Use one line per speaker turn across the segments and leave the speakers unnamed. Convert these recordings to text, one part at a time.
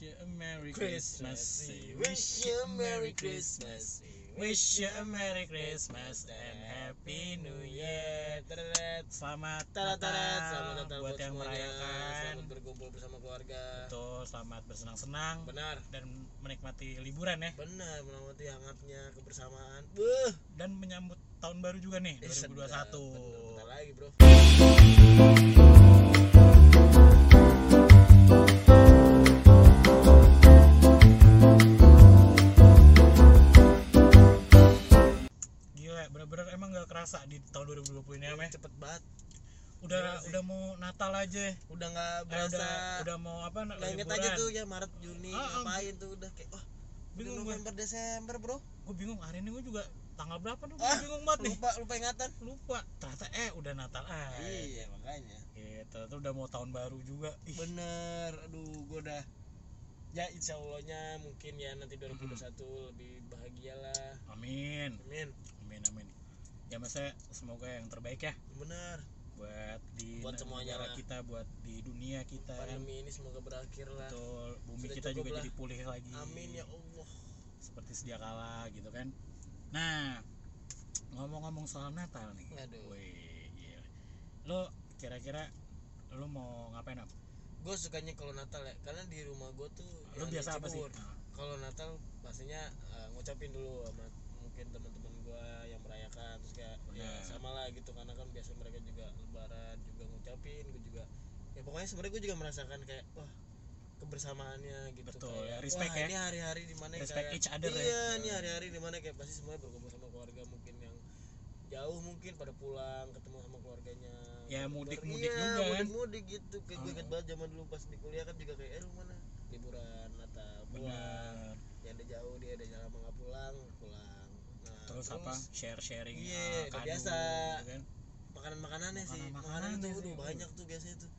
you a Merry
Christmas.
Christmas.
We wish you a Merry Christmas. We
Wish you a Merry Christmas and Happy New Year.
Teret.
Selamat
Teret, teret.
Natal
Selamat Natal
buat yang
semuanya.
merayakan.
Selamat berkumpul bersama keluarga.
Betul, selamat bersenang-senang
Benar.
dan menikmati liburan ya
Benar menikmati hangatnya kebersamaan. Beuh.
dan menyambut tahun baru juga nih
Eh, sedap.
2021.
Bener, Bentar lagi, Bro.
Gila, bener-bener emang gak kerasa di tahun 2020 ini ya, Meh.
Iya, Cepet banget.
Udah
Gila sih.
udah mau Natal aja.
Udah nggak
Eh,
berasa.
udah udah mau apa? na-
Nah, inget
liburan.
aja tuh ya Maret Juni
Ah, ah.
ngapain tuh udah kayak wah udah
Bingung gue.
November Desember bro
Gue bingung hari ini gue juga tanggal berapa tuh? Gue
Ah,
bingung banget nih.
lupa lupa ingatan
Lupa. Ternyata eh udah Natal aja.
iya makanya
Gitu, tuh udah mau tahun baru juga. Ih,
bener aduh gue udah ya insya Allahnya mungkin ya nanti 2021 lebih bahagia lah
Amin.
amin
Amin amin. Ya Mas ya, semoga yang terbaik ya
bener
buat di
Buat
ne-
semuanya
negara
lah.
kita, buat di dunia kita kan.
pandemi ini semoga berakhir lah
Betul, bumi
Sudah
kita
cukup
juga
lah.
jadi pulih lagi.
amin ya Allah
Seperti sedia kala gitu kan. Nah, ngomong-ngomong soal Natal nih.
Aduh.
Wih, gila. Lo kira-kira lo mau ngapain apa?
gue sukanya kalau Natal ya karena di rumah gue tuh
Lo
yang di
biasa apa sih?
Cibubur.
Nah,
kalau Natal pastinya eh, ngucapin dulu sama mungkin teman-teman gua yang merayakan terus kayak ya
Benar.
sama lah gitu karena kan biasa mereka juga lebaran juga ngucapin gua juga ya pokoknya sebenarnya gua juga merasakan kayak wah kebersamaannya gitu
Betul,
kayak,
ya, respect
wah,
ya.
ini hari-hari dimana
Respect
kayak,
each other ya.
iya ini hari-hari dimana kayak pasti semuanya berkumpul sama keluarga mungkin yang jauh mungkin pada pulang ketemu sama keluarganya
Ya,
Ber-
mudik-mudik
iya,
juga kan.
mudik-mudik gitu kayak gue
Ah.
inget banget zaman dulu pas di kuliah kan juga kayak eh lu mana liburan Natal pulang
Benar.
yang ada jauh dia ada yang lama nggak pulang pulang nah,
Terus, apa? Share-sharing
Iya,
eh,
udah
kado
biasa.
gitu kan.
makanan makanannya sih
Makanan-makanannya
makanan tuh
sih,
udah
aduh.
banyak tuh biasanya tuh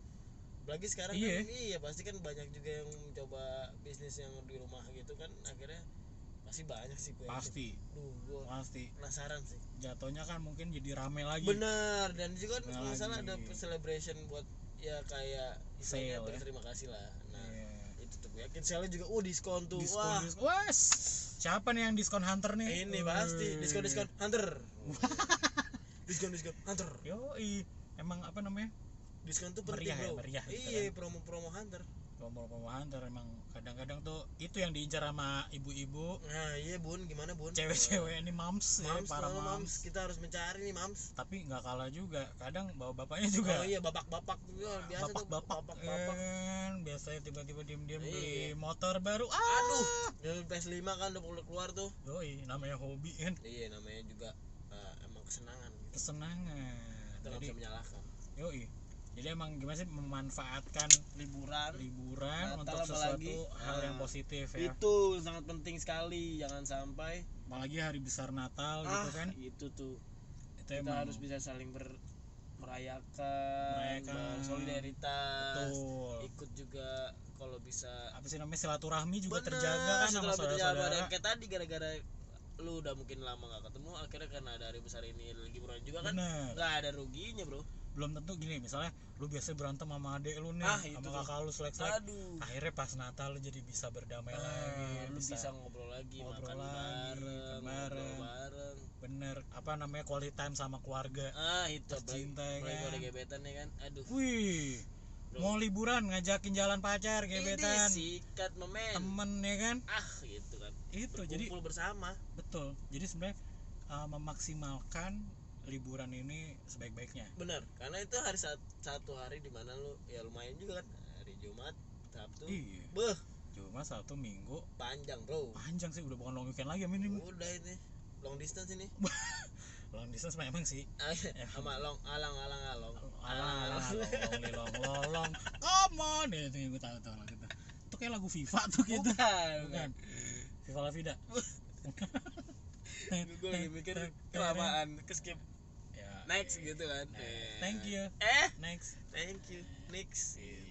apalagi sekarang
Iya.
kan iya pasti kan banyak juga yang mencoba bisnis yang di rumah gitu kan akhirnya pasti banyak sih gue
Pasti,
duh gue
pasti.
penasaran sih
Jatuhnya kan mungkin jadi rame lagi.
bener dan juga
Bener
kan kalau nggak salah ada
lagi.
celebration buat ya kayak
Sale,
istilahnya
ya.
berterima kasih lah nah
Iya.
itu tuh gue yakin sale juga oh diskon tuh
Diskon,
wah
diskon. Wes, siapa nih yang diskon hunter nih?
ini pasti
Wih.
diskon diskon hunter diskon diskon hunter
Yoi, emang apa namanya?
diskon tuh penting
Meriah ya,
bro
meriah gitu
iya promo-promo hunter
Promo-promo hunter emang kadang-kadang tuh itu yang diincar sama ibu-ibu,
nah iya bun gimana bun
cewek-cewek ini mams, ya,
mams,
para
tolong, mams.
mams.
kita harus mencari nih mams
Tapi nggak kalah juga, kadang bawa bapaknya juga.
oh iya bapak-bapak juga biasa tuh
bapak-bapak
bapak-bapak
kan biasanya tiba-tiba diem-diem
Iya.
beli motor baru Ah, aduh
Ya, PS5 kan udah keluar- keluar tuh
doi namanya hobi kan
iya namanya juga eh, emang kesenangan gitu
kesenangan
kita nggak
jadi
bisa menyalahkan
yoi jadi emang gimana sih memanfaatkan
liburan
liburan
Natal
untuk
apalagi.
sesuatu hal yang
Ah,
positif ya
itu sangat penting sekali jangan sampai
apalagi hari besar Natal
ah
gitu kan
itu tuh
itu
kita
emang
harus bisa saling ber merayakan,
Merayakan.
solidaritas
betul
ikut juga kalau bisa
apa sih namanya silaturahmi juga
Bener,
terjaga kan sama
setelah berjalan
saudara-saudara
dan kayak tadi gara-gara lu udah mungkin lama gak ketemu akhirnya karena ada hari besar ini ada liburan juga kan
bener
nggak ada ruginya bro
belum tentu gini misalnya lu biasa berantem sama adek lu nih
Ah, itu
sama
tuh.
kakak lu selek selek
aduh
akhirnya pas Natal lu jadi bisa berdamai
Ah,
lagi
lu bisa,
ya, bisa
ngobrol lagi
ngobrol
makan
lagi,
bareng
makan
ngobrol
bareng.
bareng
bener apa namanya quality time sama keluarga
ah itu
tercinta ya
mulai
kan
ada gebetan ya kan aduh
wih mau liburan ngajakin jalan pacar
gebetan
gebetan
sikat memen
temen ya kan
ah gitu kan
itu jadi
berkumpul bersama
betul jadi sebenarnya uh, memaksimalkan liburan ini sebaik-baiknya
benar karena itu hari saat, satu hari di mana lu ya lumayan juga kan hari Jumat Sabtu
iya
beh
cuma satu minggu
panjang bro
panjang sih udah bukan long weekend lagi minim
udah ini long distance ini
long distance memang sih Ya.
Ah, sama long alang alang along
alah alah lolong li, long lolong come on ya itu yang gue tahu tahu lah gitu itu kayak lagu FIFA tuh gitu bukan FIFA La Vida
gue lagi mikir kelamaan keskip
ya,
next gitu kan
Next. Nah, Thank you.
eh
next
thank you next Iya.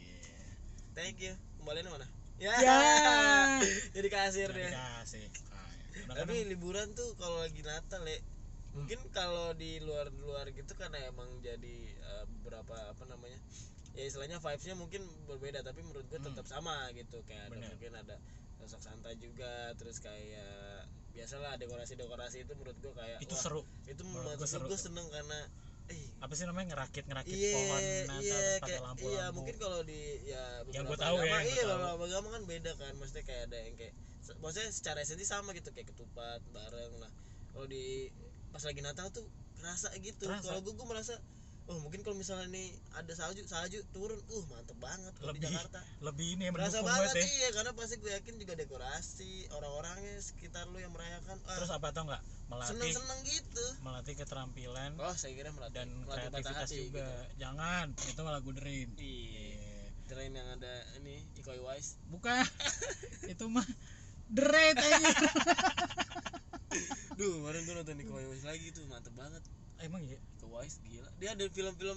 thank you kembaliannya mana ya
Ya.
jadi kasir deh
dikasih
Iya.
Ah, iya. kan,
tapi liburan tuh kalau lagi Natal ya
Hmm.
kan mungkin kalau di luar-luar gitu karena emang jadi eh, beberapa apa namanya ya istilahnya vibesnya mungkin berbeda tapi menurut gue tetap sama gitu kayak ada
Hmm. Bener.
mungkin ada sosok santai juga terus kayak biasalah dekorasi dekorasi itu menurut gue kayak
itu
wah,
seru
itu
Menurut
menurut
gua seru
gue
tuh.
seneng karena eh,
apa sih namanya ngerakit ngerakit
iya
pohon nah,
iya
terus pakai
kayak
lampu
iya
lampu
mungkin kalau di ya
Yang
beberapa
gua tahu ya,
agama,
yang gua
iya
tahu.
beberapa agama kan beda kan maksudnya kayak ada yang kayak se- maksudnya secara esensi sama gitu kayak ketupat bareng lah kalau di pas lagi Natal tuh kerasa gitu
Kerasa.
kalau gue gue merasa oh mungkin kalau misalnya nih ada salju salju turun uh mantep banget kalau di
Lebih
Jakarta
lebih ini yang
kerasa
mendukung
banget
banget ya
iya karena pasti gue yakin juga dekorasi orang-orangnya sekitar lu yang merayakan ah,
terus apa tau nggak melatih
seneng-seneng gitu
melatih keterampilan
oh saya kira melatih
dan
melatih patah
kreativitas
hati
juga
gitu.
jangan itu malah gue dream
Iya. Keren yang ada ini Iko Wise.
bukan itu mah deret aja
Duh, kemarin gue nonton Iko Wise lagi tuh mantep banget.
emang ya
Iko Wise gila. Dia ada film-film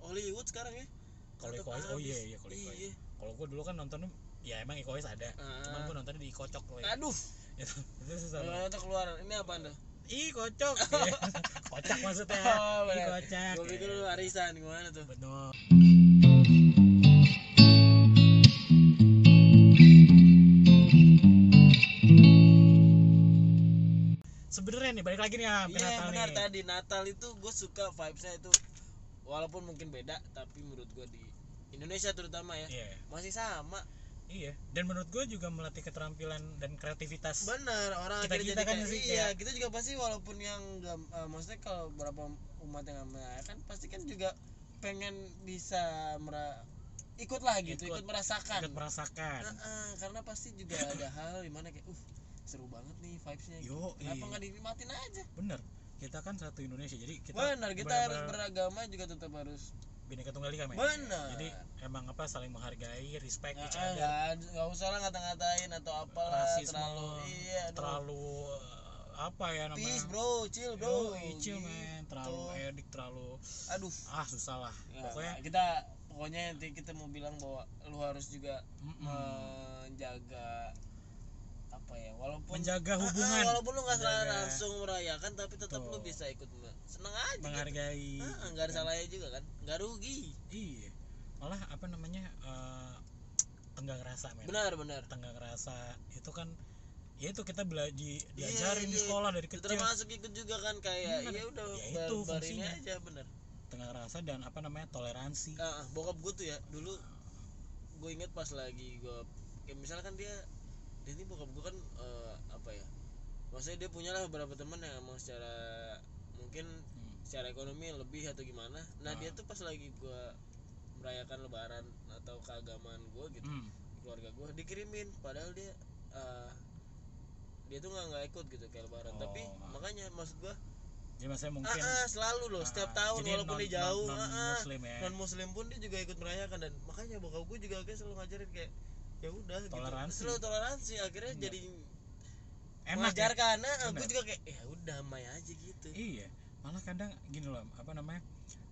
Hollywood sekarang ya.
Kalau
Mantep
Iko Uwais, oh
abis.
iya, iya, kalau Iko Uwais.
Iya.
kalau gue dulu kan nontonnya ya emang Iko Uwais ada cuman
Ah.
gue nontonnya di kocok loh
Aduh,
itu itu susah banget
kalau keluar ini apaan tuh?
ih kocok kocak maksudnya ih kocak
Gue Oh, pikir lu arisan gimana tuh?
benar sebenarnya nih balik lagi nih ya
Iya benar tadi Natal itu gue suka vibesnya itu walaupun mungkin beda tapi menurut gue di Indonesia terutama ya
iya
masih sama
iya dan menurut gue juga melatih keterampilan dan kreativitas
benar orang
Kita-
akhirnya
kita
jadi
kan
kayak-
sih
iya
kayak-
kita juga pasti walaupun yang nggak eh, maksudnya kalau berapa umat yang nggak merayakan pasti kan juga pengen bisa mera ikut lah gitu ikut,
Ikut.
merasakan
ikut merasakan
Heeh, karena pasti juga ada hal dimana kayak uh seru banget nih vibesnya gitu.
yo iya.
kenapa nggak dinikmatin aja
bener kita kan satu Indonesia jadi kita
benar kita
benar-benar
harus beragama juga tetap harus
bineka tunggal ika men
benar
jadi emang apa saling menghargai respect
Heeh,
each other
nggak ad- nggak usah lah ngata-ngatain atau apalah
Rasisme,
iya. terlalu iya aduh.
terlalu eh, apa ya namanya
peace bro gitu. chill bro
Yoi, chill men terlalu edik terlalu
aduh
ah susah lah
Ya,
pokoknya
kita pokoknya nanti kita mau bilang bahwa lu harus juga
mm-mm.
Eh, menjaga apa ya walaupun
menjaga
Ah, ah,
hubungan
walaupun lu nggak salah
Menjaga.
langsung merayakan tapi tetap lu
Betul.
bisa ikut me- seneng aja gitu.
menghargai
Ah,
gitu
nggak ada
kan.
salahnya juga kan nggak rugi
iya malah apa namanya eh, tenggang rasa men
benar benar
tenggang rasa itu kan ya itu kita bela di,
Iya,
diajarin di
iya.
sekolah dari
Itu
kecil
termasuk ikut juga kan kayak
Benar.
ya udah
Ya
bar-
itu
bar ini
fungsinya.
aja benar
tenggang rasa dan apa namanya toleransi
Ah, ah, bokap gue tuh ya dulu gue inget pas lagi gue kayak misalkan dia dia ini bokap gue kan eh, apa ya maksudnya dia punya lah beberapa teman yang emang secara mungkin
Hmm.
secara ekonomi lebih atau gimana
Ah.
nah dia tuh pas lagi gue merayakan lebaran atau keagamaan gue gitu
Hmm.
keluarga gue dikirimin padahal dia eh, dia tuh nggak nggak ikut gitu kayak lebaran
Oh,
tapi
ah.
makanya maksud gue
Jadi maksudnya
ah,
mungkin
ah, selalu loh setiap tahun walaupun dia jauh ah, ah
muslim ya.
non muslim pun dia juga ikut merayakan dan makanya bokap gue juga akhirnya selalu ngajarin kayak ya udah gitu.
Toleransi.
selalu toleransi akhirnya
Bener.
jadi
Enak ya?
mengajarkan nah, gue
Bener.
juga kayak ya udah damai aja gitu
Iya. Malah kadang gini loh, apa namanya?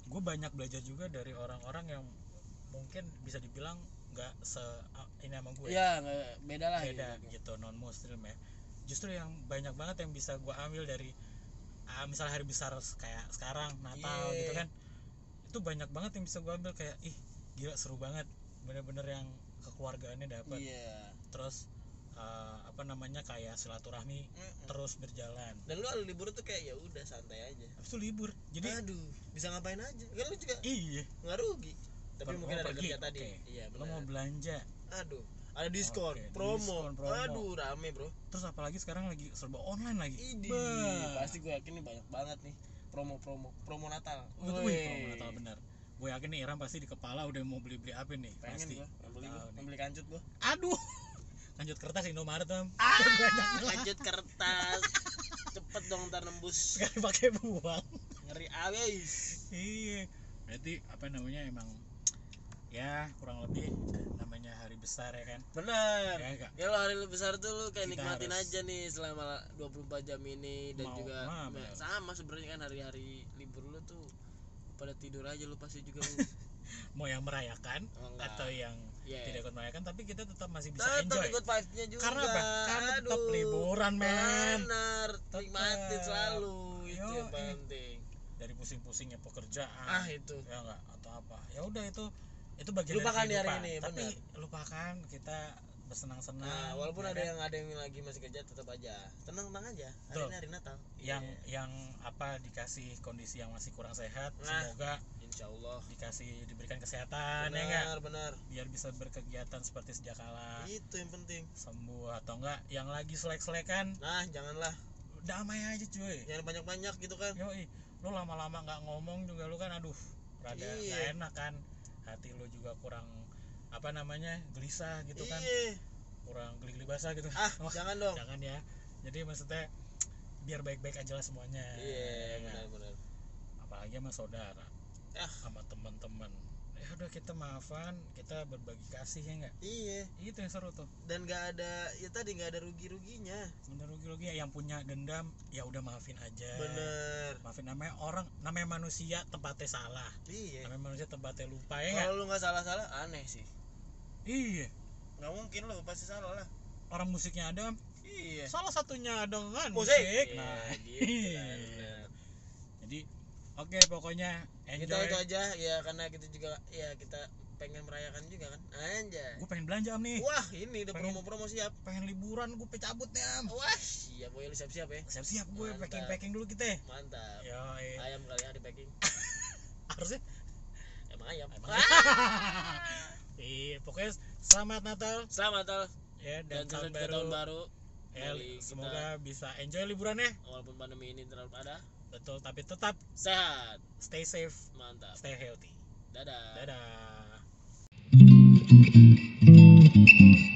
Gue banyak belajar juga dari orang-orang yang mungkin bisa dibilang nggak se ah, ini sama gue.
ya nggak- beda lah
beda
gitu.
gitu non muslim ya. Justru yang banyak banget yang bisa gue ambil dari ah, misalnya hari besar kayak sekarang Natal
Iya.
gitu kan. Itu banyak banget yang bisa gue ambil kayak ih gila seru banget. Bener-bener yang kekeluargaannya dapat.
iya
terus eh, apa namanya kayak silaturahmi
Mm-mm.
terus berjalan
dan lu kalau libur tuh kayak ya udah santai aja
habis itu libur jadi
aduh bisa ngapain aja kan lu juga
iya
nggak rugi tapi
Baru
mungkin
mau
ada
oh, pergi,
kerja tadi
oke.
iya
lo mau
benar
belanja
aduh ada diskon,
Oke,
promo.
diskon, promo.
aduh rame bro
terus apalagi sekarang lagi serba online lagi
Idi,
Bah.
pasti gue yakin nih banyak banget nih promo-promo promo Natal.
Wih,
Wih.
promo Natal bener gue yakin nih Iram pasti di kepala udah mau beli beli apa nih
Pengen
pasti
gue, beli
Tahu
gua,
nih.
beli kancut gue.
aduh lanjut kertas Indomaret Mam.
Ah, kancut kertas. Cepet dong ntar nembus.
sekali pakai buang
Ngeri ah, abis.
iya berarti apa namanya emang ya kurang lebih namanya hari besar ya kan
Bener.
ya enggak
Ya lo hari lu besar tuh lu kayak
Kita
nikmatin
harus-
aja nih selama 24 jam ini dan
Mau-
juga
nah,
ya,
bener.
sama sebenarnya kan hari-hari libur lu tuh pada tidur aja lu pasti juga lu.
mau yang merayakan
Oh, enggak.
atau yang
Iya.
tidak ikut merayakan tapi kita tetap masih bisa
Tetap
enjoy
ikut vibes-nya juga.
karena apa karena tetap
Aduh.
liburan men
Bener,
Tetep.
nikmatin selalu itu yang
Yoi.
penting.
dari pusing-pusingnya pekerjaan
Ah itu.
ya enggak atau apa ya udah itu itu bagian
Lupakan
dari
di hari
kehidupan.
ini,
tapi lupakan kita bersenang-senang
Nah, walaupun
ya
ada
kan?
yang ada yang lagi masih kerja tetap aja. Tenang-tenang aja. Hari
Betul.
ini hari Natal.
yang
Iya.
yang apa dikasih kondisi yang masih kurang sehat
Nah.
semoga
Insya Allah
dikasih diberikan kesehatan ya enggak Ah.
benar benar
biar bisa berkegiatan seperti sejak kala
itu yang penting
sembuh atau enggak yang lagi selek-selekan
nah janganlah
damai aja cuy
jangan banyak banyak gitu kan
Yoi, lu lama-lama nggak ngomong juga lu kan aduh rada nggak
Iya.
enak kan hati lu juga kurang apa namanya gelisah gitu kan
iya
kurang geli-geli basah gitu
ah
Wah,
jangan dong
jangan ya jadi maksudnya biar baik-baik aja lah semuanya ya
iya
kan?
benar benar
apalagi sama saudara
Ah.
sama teman-teman ya udah kita maafan kita berbagi kasih ya enggak
iya
itu yang seru tuh
dan nggak ada ya tadi nggak ada rugi ruginya
bener rugi rugi yang punya dendam ya udah maafin aja
bener
maafin namanya orang namanya manusia tempatnya salah
iya Oh.
namanya manusia tempatnya lupa ya enggak
kalau lu nggak salah salah aneh sih
iya
nggak mungkin lu pasti salah lah
orang musiknya ada
iya
salah satunya dengan musik,
musik
nah
Iya, gitu kan,
iya.
benar.
jadi oke pokoknya
kita
enjoy
itu aja ya karena kita juga ya kita pengen merayakan juga kan anjay
gue pengen belanja Am, nih
wah ini udah
pengen-
promo promo siap
pengen liburan gue cabut nih Am.
wah siap boy siap siap ya
siap siap gue
Oh. Mantap.
packing packing dulu kita ya
mantap
Yoi.
ayam kali ya di packing
harusnya
emang ayam
Emang
Ah!
iya pokoknya selamat Natal
Ah, selamat Natal
ya
dan
dan,
selamat
tahun
baru.
baru,
tahun baru
Ya,
Mari kita-
semoga bisa enjoy liburannya
walaupun pandemi ini terlalu ada
betul tapi tetap
sehat
stay safe
mantap
stay healthy
dadah
dadah